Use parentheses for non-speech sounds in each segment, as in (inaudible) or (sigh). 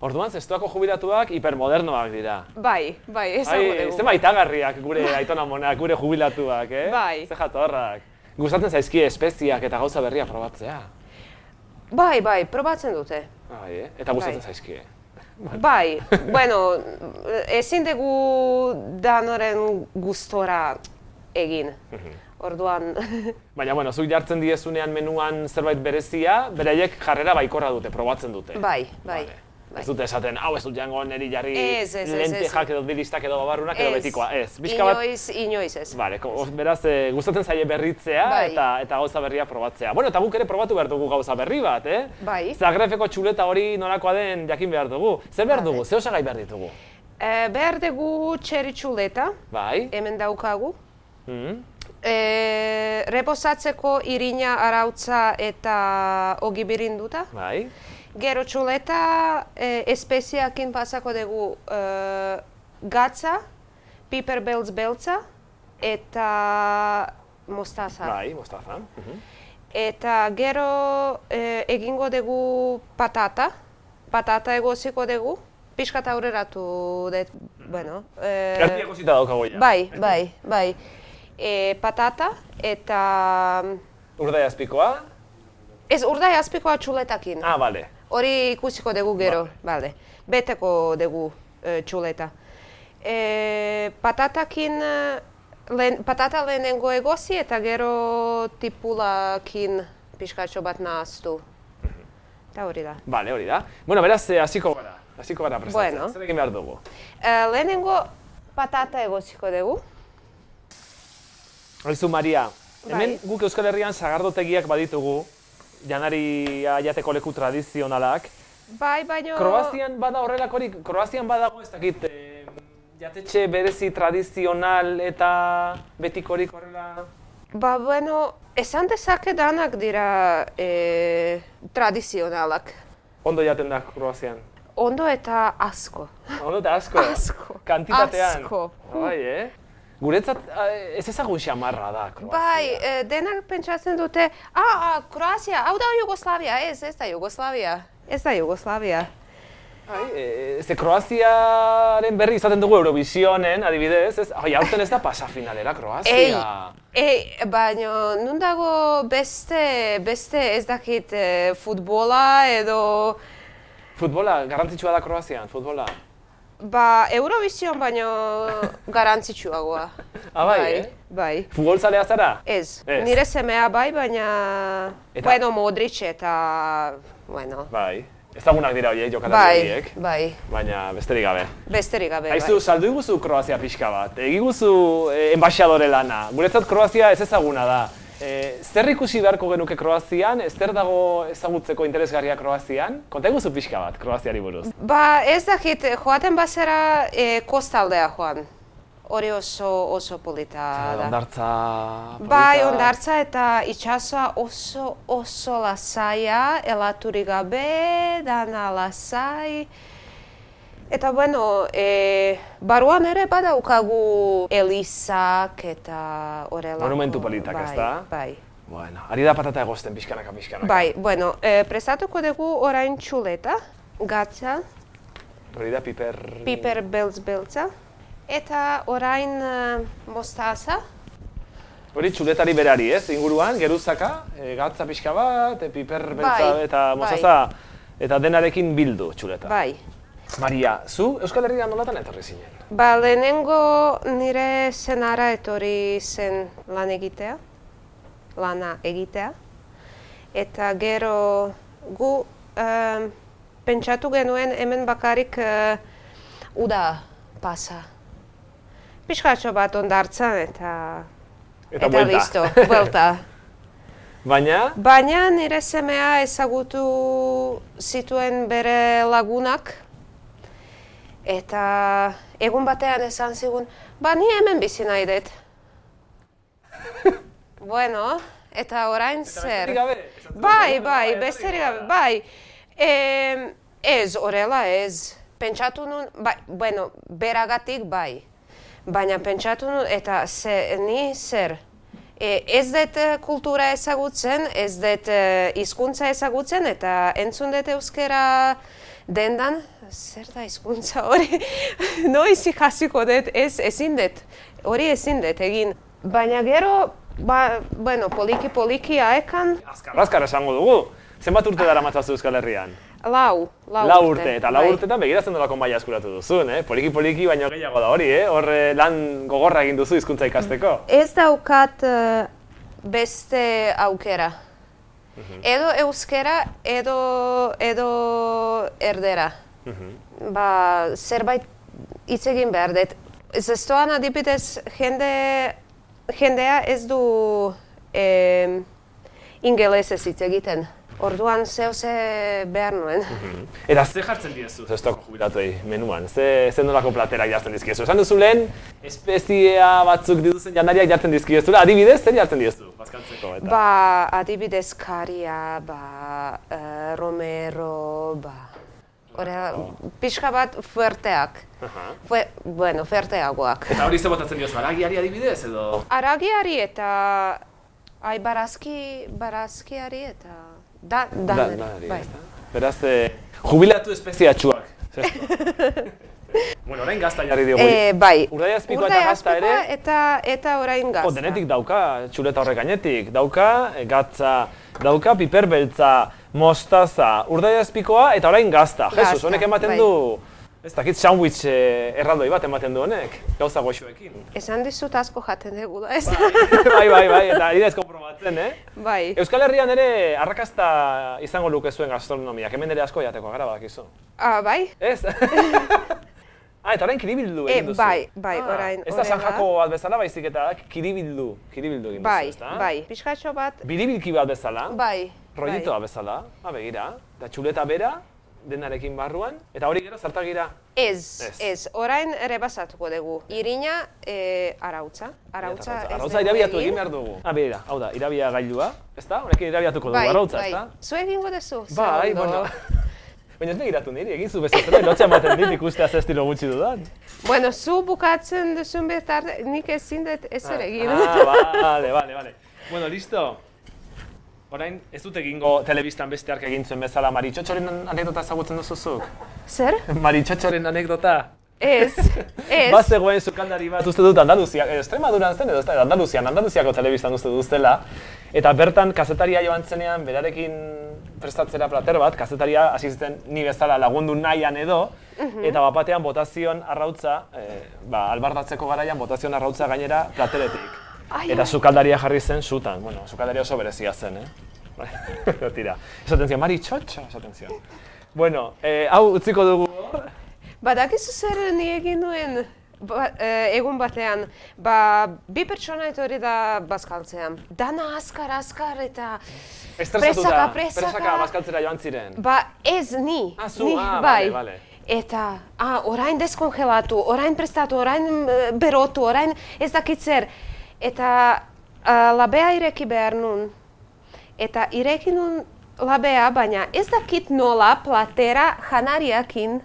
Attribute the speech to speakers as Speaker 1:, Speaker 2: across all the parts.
Speaker 1: Orduan, zestuako jubilatuak hipermodernoak dira.
Speaker 2: Bai, bai, esango
Speaker 1: Ai,
Speaker 2: dugu.
Speaker 1: ze maitagarriak gure aitona monak, gure jubilatuak, eh?
Speaker 2: Bai.
Speaker 1: Ze jatorrak. Gustatzen zaizkie espeziak eta gauza berria probatzea.
Speaker 2: Bai, bai, probatzen dute.
Speaker 1: Bai, eh? Eta gustatzen
Speaker 2: Bai.
Speaker 1: zaizkie. (laughs)
Speaker 2: Bai, bueno, ezin dugu danoren gustora egin.
Speaker 1: Mhm.
Speaker 2: Orduan, (laughs)
Speaker 1: Baina, bueno, zuk jartzen diezunean menuan zerbait berezia, beraiek jarrera baikorra dute, probatzen dute.
Speaker 2: bai, bai.
Speaker 1: Vale.
Speaker 2: bai.
Speaker 1: Ez dute esaten, hau ez dut jango neri jarri
Speaker 2: Ez, ez, ez, ez,
Speaker 1: lentejak edo dilistak edo babarrunak edo
Speaker 2: Ez.
Speaker 1: betikoa. Ez, pixka bat
Speaker 2: Inoiz, inoiz ez.
Speaker 1: Bale, ko- Ba, beraz, eh, gustatzen zaie berritzea
Speaker 2: Bai.
Speaker 1: eta eta gauza berria probatzea. Bueno, eta guk ere probatu behar dugu gauza berri bat, eh?
Speaker 2: Bai.
Speaker 1: Zagrefeko txuleta hori norakoa den jakin behar dugu. Zer behar
Speaker 2: Vale.
Speaker 1: dugu? Ze osagai behar ditugu?
Speaker 2: E, behar dugu txerri txuleta,
Speaker 1: Bai.
Speaker 2: hemen daukagu.
Speaker 1: Mhm.
Speaker 2: E, reposatzeko irina arautza eta ogibirinduta.
Speaker 1: Bai.
Speaker 2: Gero txuleta e, espeziakin pasako dugu e, gatza, piper beltz beltza eta mostaza.
Speaker 1: Bai, mostaza. Mhm.
Speaker 2: Eta gero e, egingo dugu patata, patata egoziko dugu, pixkat aurreratu dut, bueno. e,
Speaker 1: Erdi egosita daukagu ja.
Speaker 2: bai, bai, bai. E, patata eta
Speaker 1: Urdai azpikoa.
Speaker 2: ez urdai azpikoa txuletakin.
Speaker 1: Ah, bale.
Speaker 2: Hori ikusiko dugu gero, bale. Beteko dugu e, txuleta. E, patatakin, e, lehen, patata lehenengo egosi eta gero tipulakin pixkatxo bat nahaztu. Eta hori da.
Speaker 1: Bale, hori da. Bueno, beraz, eh, hasiko gara. Hasiko gara prestatzen.
Speaker 2: Bueno.
Speaker 1: Zer egin behar dugu?
Speaker 2: E, lehenengo patata egosiko dugu.
Speaker 1: Horizu, Maria, hemen
Speaker 2: Bai.
Speaker 1: guk Euskal Herrian sagardotegiak baditugu, janaria jateko leku tradizionalak,
Speaker 2: Bai, baino...
Speaker 1: Kroazian bada horrelakorik, Kroazian badago ez dakit, eh, jatetxe berezi tradizional eta betikorik horrela...
Speaker 2: Ba, bueno, esan dezake danak dira e, tradizionalak.
Speaker 1: Ondo jaten da Kroazian.
Speaker 2: Ondo eta asko.
Speaker 1: Ondo eta asko.
Speaker 2: Asko.
Speaker 1: Kantitatean.
Speaker 2: Asko.
Speaker 1: Bai, eh? Guretzat eh, ez ezagun xamarra da Kroazia.
Speaker 2: Bai, e, denak pentsatzen dute, ah, ah, Kroazia, hau da e, Jugoslavia, ez, ez da Jugoslavia, ez da Jugoslavia.
Speaker 1: Bai, eh, ze Kroaziaren berri izaten dugu Eurovisionen, adibidez, ez? Hoi, aurten ez da pasafinalera Kroazia.
Speaker 2: Ei, ei, baina nun dago beste, beste ez dakit e, futbola edo,
Speaker 1: Futbola, garrantzitsua da Kroazian, futbola.
Speaker 2: ba, Eurovision baino garantzitsuagoa.
Speaker 1: Ah, bai, eh?
Speaker 2: bai.
Speaker 1: Futbolzalea zara?
Speaker 2: Ez,
Speaker 1: Ez.
Speaker 2: nire semea bai, baina,
Speaker 1: Eta-
Speaker 2: bueno, Modric eta, bueno,
Speaker 1: Bai. Ezagunak dira horiek jokalari
Speaker 2: bai,
Speaker 1: horiek.
Speaker 2: bai,
Speaker 1: Baina besterik gabe.
Speaker 2: besterik gabe, bai.
Speaker 1: Aizu, saldu iguzu Kroazia pixka bat, egiguzu eh, enbaixadore lana. Guretzat Kroazia ez ezaguna da. Eh, zer ikusi beharko genuke Kroazian, ez zer dago ezagutzeko interesgarria Kroazian? Konta iguzu pixka bat, Kroaziari buruz.
Speaker 2: Ba, ez dakit, joaten bazera e, kostaldea joan. Hori oso, oso polita da.
Speaker 1: Ondartza... Ah,
Speaker 2: Bai,
Speaker 1: polita.
Speaker 2: ondartza eta itxasoa oso, oso lasaia, elaturi gabe, dana lasai. Eta, bueno, e, baruan ere badaukagu elizak eta horrelako.
Speaker 1: Monumentu politak,
Speaker 2: bai,
Speaker 1: ezta?
Speaker 2: Bai,
Speaker 1: Bueno, ari da patata egosten pixkanaka pixkanaka.
Speaker 2: bai, bueno, e, prestatuko dugu orain txuleta, gatza,
Speaker 1: Hori da piper...
Speaker 2: piper beltz beltza, eta orain uh, mostaza,
Speaker 1: Hori txuletari berari, ez? Inguruan, geruzaka, e, gatza pixka bat, e, piper beltza
Speaker 2: Bai,
Speaker 1: eta
Speaker 2: bai.
Speaker 1: mozaza, eta denarekin bildu txuleta.
Speaker 2: bai.
Speaker 1: Maria, zu Euskal Herrian nolatan etorri zinen?
Speaker 2: Ba, lehenengo nire senara etorri zen lan egitea, lana egitea, eta gero gu em, pentsatu genuen hemen bakarrik eh, uda pasa. Piskatxo bat ondartzan eta,
Speaker 1: Eta buelta.
Speaker 2: listo,
Speaker 1: (laughs)
Speaker 2: buelta.
Speaker 1: Baina,
Speaker 2: Baina nire semea ezagutu zituen bere lagunak eta egun batean esan zigun, ba ni hemen bizi nahi
Speaker 1: (laughs)
Speaker 2: dut. bueno, eta orain zer.
Speaker 1: besterik gabe, esan zen
Speaker 2: Bai,
Speaker 1: dugu,
Speaker 2: bai,
Speaker 1: bai,
Speaker 2: besterik
Speaker 1: besterik
Speaker 2: gabe,
Speaker 1: gabe.
Speaker 2: bai. Em, ez, horrela ez. Pentsatu nun, bai, bueno, beragatik bai. Baina pentsatu nun, eta ze, ni zer. E, ez dut eh, kultura ezagutzen, ez dut eh, hizkuntza ezagutzen, eta entzun dut euskera dendan, zer da hizkuntza hori, (laughs) noiz ikasiko dut, ez ezin dut, hori ezin dut egin. Baina gero, ba, bueno, poliki-poliki aekan,
Speaker 1: Azkar, azkar esango dugu. Zenbat urte dara matzazu Euskal Herrian?
Speaker 2: lau, lau,
Speaker 1: Lau urte, eta lau
Speaker 2: bai.
Speaker 1: urtetan begiratzen nolako maila eskuratu duzun, eh? Poliki-poliki baino gehiago da hori, eh? Hor eh, lan gogorra egin duzu hizkuntza ikasteko.
Speaker 2: Ez daukat eh, beste aukera.
Speaker 1: Mhm.
Speaker 2: Edo euskera, edo, edo erdera.
Speaker 1: Mhm.
Speaker 2: Ba, zerbait hitz egin behar dut. Zestoan adibidez, jende, jendea ez du eh, ingelesez hitz egiten. Orduan zeu ze behar nuen.
Speaker 1: (laughs) Mhm. Eta ze jartzen diezu zestoko jubilatuei menuan? Ze, ze nolako platerak jartzen dizkiezu? Esan duzu lehen, espeziea batzuk dituzen janariak jartzen dizkiezula. Adibidez, zer jartzen diezu? Bazkaltzeko eta...
Speaker 2: Ba, adibidez, karia, ba, eh, romero, ba. Hora, pixka bat fuerteak.
Speaker 1: Aha.
Speaker 2: Fue, bueno, fuerteagoak.
Speaker 1: Eta hori ze botatzen diozu, aragiari adibidez edo?
Speaker 2: Aragiari eta... Ai, barazki, barazkiari eta... Da,
Speaker 1: Da,
Speaker 2: daneri,
Speaker 1: danari,
Speaker 2: bai.
Speaker 1: ezta? Beraz, eh, jubilatu
Speaker 2: (laughs)
Speaker 1: espeziatxuak. bueno, orain gazta jarri diogu.
Speaker 2: Eh, bai.
Speaker 1: Urdaiazpikoa eta
Speaker 2: Urdaiazpikoa
Speaker 1: gazta ere?
Speaker 2: Eta, eta orain gazta.
Speaker 1: Oh, denetik dauka, txuleta horrek gainetik. Dauka, eh, gatza, dauka piperbeltza, mostaza, urdaiazpikoa eta orain gazta.
Speaker 2: Gazta,
Speaker 1: Jesus, honek ematen
Speaker 2: bai.
Speaker 1: du, ez dakit, sandwich eh, erraldoi bat ematen du honek, gauza goxoekin.
Speaker 2: (laughs) Esan dizut asko jaten degula, ez?
Speaker 1: bai, bai, bai, eta ari da ez konprobatzen, eh?
Speaker 2: (laughs) bai.
Speaker 1: Euskal Herrian ere arrakasta izango luke zuen gastronomiak, hemen ere asko jateko gara badakizu.
Speaker 2: Ah, bai? (laughs)
Speaker 1: Ez? ah, eta orain kiribildu
Speaker 2: Eh,
Speaker 1: egin duzu. Ah,
Speaker 2: bai, bai, orain-
Speaker 1: Ez da
Speaker 2: orain da.
Speaker 1: zanjako bat bezala, baizik eta kiribildu, kiribildu egin
Speaker 2: Bai,
Speaker 1: duzu, ezta?
Speaker 2: bai. Pixkatxo bat,
Speaker 1: Biribilki bat bezala.
Speaker 2: bai.
Speaker 1: Rollitoa bezala, ba, begira, eta txuleta bera, denarekin barruan, eta hori gero zartagira.
Speaker 2: Ez,
Speaker 1: Ez.
Speaker 2: ez, orain rebasatuko dugu. Irina e, arautza. Arautza, ez
Speaker 1: arautza
Speaker 2: dugu
Speaker 1: irabiatu egin behar dugu. Ah, begira, hau da, irabia gailua, ezta? Honekin irabiatuko dugu,
Speaker 2: Bai,
Speaker 1: arautza,
Speaker 2: bai.
Speaker 1: ezta?
Speaker 2: Zu egingo duzu.
Speaker 1: Bai,
Speaker 2: segundo.
Speaker 1: bueno. (laughs) Baina ez begiratu niri, egin zu bezazera, lotxa ematen dit ikustea ze estilo gutxi dudan.
Speaker 2: Bueno, zu bukatzen duzun bertar, nik ezin dut ezer egin.
Speaker 1: Ah, bale, bale, bale. Bueno, listo. Orain, ez dut egingo telebistan beste ark egin zuen bezala Maritxotxoren anekdota ezagutzen duzu zuk? (laughs)
Speaker 2: Zer?
Speaker 1: Maritxotxoren anekdota?
Speaker 2: Ez, ez.
Speaker 1: Bazegoen Ba, sukaldari bat uste dut Andaluzia, eh, Extremaduran zen edo ez da, Andaluzian, Andaluziako telebistan uste dut zela. Eta bertan kazetaria joan zenean, berarekin prestatzera plater bat, kazetaria hasi ziten ni bezala lagundu nahian edo,
Speaker 2: Mhm.
Speaker 1: eta bat batean botazion arrautza, eh, ba, albardatzeko garaian botazion arrautza gainera plateretik.
Speaker 2: Ai,
Speaker 1: eta
Speaker 2: ai.
Speaker 1: sukaldaria jarri zen sutan, bueno, sukaldaria oso berezia zen, eh? (laughs) Bai, Tira, esaten zion, mari txotxo, esaten zion. Bueno, eh, hau utziko dugu hor,
Speaker 2: Badakizu zer ni egin nuen ba, eh, egun batean, ba, bi pertsona etorri da bazkaltzean. Dana askar, askar eta
Speaker 1: Estresatuta,
Speaker 2: Presaka, presaka.
Speaker 1: presaka bazkaltzera joan ziren.
Speaker 2: Ba, ez ni.
Speaker 1: Ah, zu,
Speaker 2: ni,
Speaker 1: ah,
Speaker 2: bai.
Speaker 1: bale, bale.
Speaker 2: Eta, ah, orain deskongelatu, orain prestatu, orain eh, berotu, orain ez dakit zer. Eta ah, labea ireki behar nun. Eta ireki nun labea, baina ez dakit nola platera janariakin.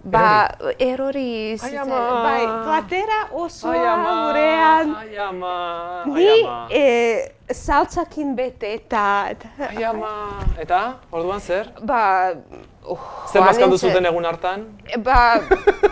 Speaker 2: Ba, erori
Speaker 1: Ai,
Speaker 2: zitzaidan.
Speaker 1: ama.
Speaker 2: Bai, platera osoa
Speaker 1: Ai ama,
Speaker 2: gurean.
Speaker 1: ai ama, ai
Speaker 2: Ni
Speaker 1: ama,
Speaker 2: eh, saltzakin bete eta... eta-
Speaker 1: ai ama. Eta, orduan zer?
Speaker 2: Ba,
Speaker 1: Zer
Speaker 2: joan
Speaker 1: bazkaldu
Speaker 2: nintzen-
Speaker 1: zuten egun hartan?
Speaker 2: Ba,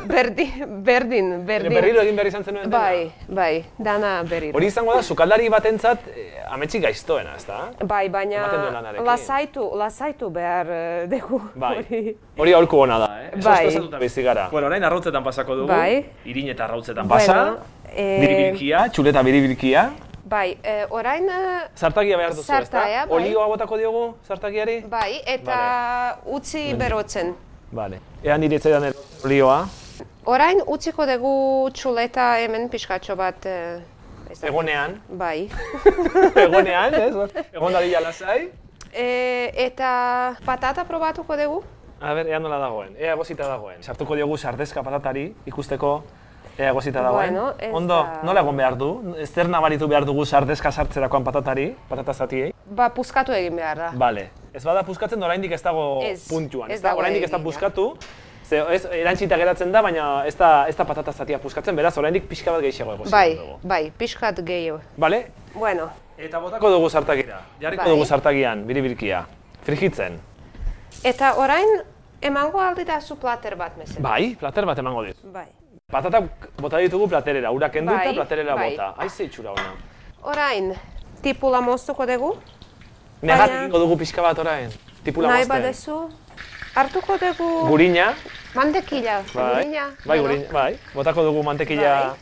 Speaker 2: berdin, berdin, berdin.
Speaker 1: Berriro egin behar izan zenuen dena?
Speaker 2: Bai, bai, dana berriro.
Speaker 1: Hori izango da, sukaldari batentzat eh, ametsi gaiztoena, ezta?
Speaker 2: Bai, baina
Speaker 1: Ematen du lanarekin.
Speaker 2: lasaitu, lasaitu behar eh, dugu
Speaker 1: Bai.
Speaker 2: hori.
Speaker 1: Hori aholku ona da, eh? Oso
Speaker 2: Bai.
Speaker 1: estresatuta bizi gara. Bueno, orain arrautzetan pasako dugu.
Speaker 2: Bai.
Speaker 1: Irin eta arrautzetan
Speaker 2: Bueno,
Speaker 1: pasa.
Speaker 2: eh,
Speaker 1: Biribilkia, txuleta biribilkia.
Speaker 2: Bai, eh, orain, eh,
Speaker 1: Zartagia behar duzu, ezta?
Speaker 2: Zartaia, bai.
Speaker 1: Olioa botako diogu zartagiari?
Speaker 2: bai, eta utzi
Speaker 1: Bai.
Speaker 2: berotzen.
Speaker 1: Vale. Ea nire etzaidan olioa.
Speaker 2: Orain utziko dugu txuleta hemen pixkatxo bat. eh, ez dakit.
Speaker 1: Egonean.
Speaker 2: Bai.
Speaker 1: Egonean,
Speaker 2: (laughs)
Speaker 1: ez? Egon dadila lasai.
Speaker 2: Eh, eta patata probatuko dugu?
Speaker 1: A ber, ea nola dagoen, ea egozita dagoen. Sartuko diogu sardezka patatari ikusteko ea egozita dagoen.
Speaker 2: Bueno, ez
Speaker 1: Ondo,
Speaker 2: da-
Speaker 1: nola egon behar du? Zer nabaritu behar dugu sardezka sartzerakoan patatari, patata zatiei?
Speaker 2: Ba, puskatu egin behar da.
Speaker 1: Vale. Ez bada puskatzen, oraindik ez dago
Speaker 2: Ez,
Speaker 1: puntuan.
Speaker 2: ez
Speaker 1: Ez da,
Speaker 2: dago
Speaker 1: oraindik ez da
Speaker 2: egina.
Speaker 1: puskatu. Ze, ez, erantzita geratzen da, baina ez da, ez da patata zatia puskatzen, beraz, oraindik pixka bat gehiago egozita
Speaker 2: Bai,
Speaker 1: dugu.
Speaker 2: bai, pixkat gehiago.
Speaker 1: Vale?
Speaker 2: Bueno,
Speaker 1: Eta botako dugu zartagira. Jarriko
Speaker 2: Bai.
Speaker 1: dugu zartagian, biribilkia. Frijitzen.
Speaker 2: Eta orain Emango aldi da zu plater bat mesedez.
Speaker 1: Bai, plater bat emango dizu.
Speaker 2: Bai.
Speaker 1: Patatak bota ditugu platerera, ura kendu eta
Speaker 2: Bai,
Speaker 1: platerera
Speaker 2: bai.
Speaker 1: bota. Aize itxura ona.
Speaker 2: Orain, tipula moztuko dugu.
Speaker 1: Negat
Speaker 2: Baina- Bai,
Speaker 1: egingo dugu pixka bat orain. Tipula
Speaker 2: Nahi
Speaker 1: mozten.
Speaker 2: badezu. Hartuko dugu
Speaker 1: Gurina,
Speaker 2: mantekila.
Speaker 1: bai.
Speaker 2: Gurina.
Speaker 1: Bai,
Speaker 2: edo-
Speaker 1: gurina, bai. Botako dugu mantekila,
Speaker 2: Bai.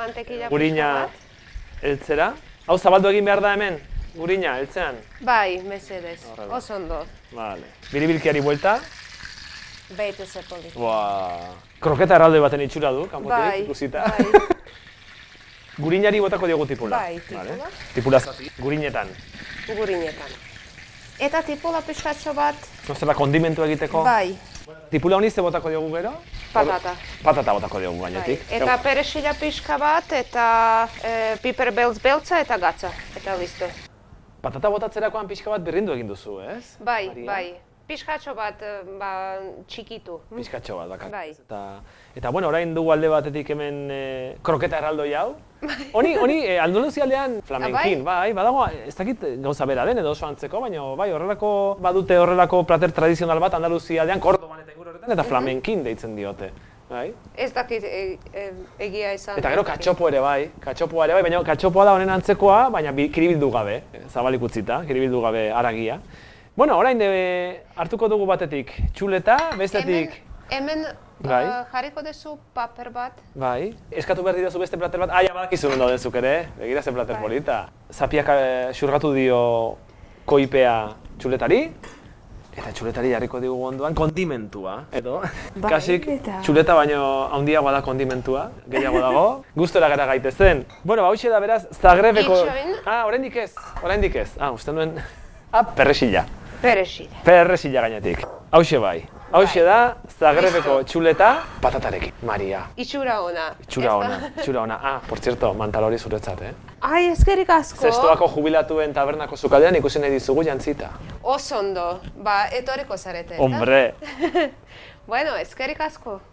Speaker 2: Mantekila.
Speaker 1: gurina
Speaker 2: pixka
Speaker 1: eltzera. Hau zabaldu egin behar da hemen, gurina, eltzean.
Speaker 2: bat. Bai, mesedez.
Speaker 1: Horrela.
Speaker 2: Oso ondo.
Speaker 1: Vale. Biribilkiari buelta.
Speaker 2: Beitu zepoli.
Speaker 1: Boa. Kroketa erralde baten itxura du, kanpotik,
Speaker 2: Bai.
Speaker 1: ikusita.
Speaker 2: Bai.
Speaker 1: (laughs) Gurinari botako diogu tipula.
Speaker 2: Bai, tipula.
Speaker 1: Vale. Tipula zati. Gurinetan.
Speaker 2: Gurinetan. Eta tipula pixkatxo bat.
Speaker 1: Nozela kondimentu egiteko.
Speaker 2: Bai.
Speaker 1: Tipula honi ze botako diogu gero?
Speaker 2: Patata.
Speaker 1: Patata botako diogu
Speaker 2: Bai.
Speaker 1: gainetik.
Speaker 2: Eta perexila pixka bat, eta e, piper beltz beltza eta gatza. Eta listo.
Speaker 1: Patata botatzerakoan pixka bat berrindu egin duzu, ez?
Speaker 2: Bai,
Speaker 1: Maria?
Speaker 2: bai. Pixkatxo bat, eh, ba, txikitu.
Speaker 1: Pixkatxo bat bakar.
Speaker 2: Bai.
Speaker 1: Eta, eta bueno, orain dugu alde batetik hemen e, kroketa erraldoi hau.
Speaker 2: Bai.
Speaker 1: Honi, honi, e, Andaluzi aldean
Speaker 2: Ah,
Speaker 1: flamenkin, bai, badago, ez dakit eh, gauza bera den edo oso antzeko, baina bai, horrelako, badute horrelako plater tradizional bat Andaluzi aldean, Kordoban eta inguru horretan, eta flamenkin deitzen diote. Bai.
Speaker 2: Ez dakit e, e, egia izan.
Speaker 1: Eta gero katxopo ere bai, katxopoa ere bai, baina katxopoa da honen antzekoa, baina bi- kiribildu gabe, eh, zabalik utzita, kiribildu gabe aragia. Bueno, orain e, hartuko dugu batetik txuleta,
Speaker 2: Hemen,
Speaker 1: bestetik,
Speaker 2: hemen
Speaker 1: Bai.
Speaker 2: eh, jarriko dezu paper bat.
Speaker 1: bai, eskatu behar dituzu beste plater bat, aia badakizu non daudezuk ere, eh? begira ze plater
Speaker 2: Bai.
Speaker 1: polita. Zapiak eh, xurgatu dio koipea txuletari, eta txuletari jarriko digu ondoan kondimentua, edo?
Speaker 2: Bai,
Speaker 1: Kasik
Speaker 2: eta-
Speaker 1: txuleta baino handiagoa da kondimentua, gehiago dago. Gustora gara gaitezen. Bueno, hau da beraz, Zagrebeko...
Speaker 2: Itxoin?
Speaker 1: Ah, oraindik ez, oraindik ez. Ah, uste nuen... Ah, perresila.
Speaker 2: Perexila.
Speaker 1: Perresila gainetik. Hauxe bai. Hauxe
Speaker 2: Bai.
Speaker 1: da, Zagrebeko txuleta patatarekin. Maria.
Speaker 2: Itxura ona.
Speaker 1: Txura
Speaker 2: Ez da-
Speaker 1: ona, txura ona. Ah, por cierto, mantal hori zuretzat, eh?
Speaker 2: (laughs) Ai, eskerrik asko.
Speaker 1: Zestoako jubilatuen tabernako zukaldean ikusi nahi dizugu jantzita.
Speaker 2: Osondo. Ba, etorriko zarete. eta?
Speaker 1: Hombre,
Speaker 2: Bueno, eskerrik asko.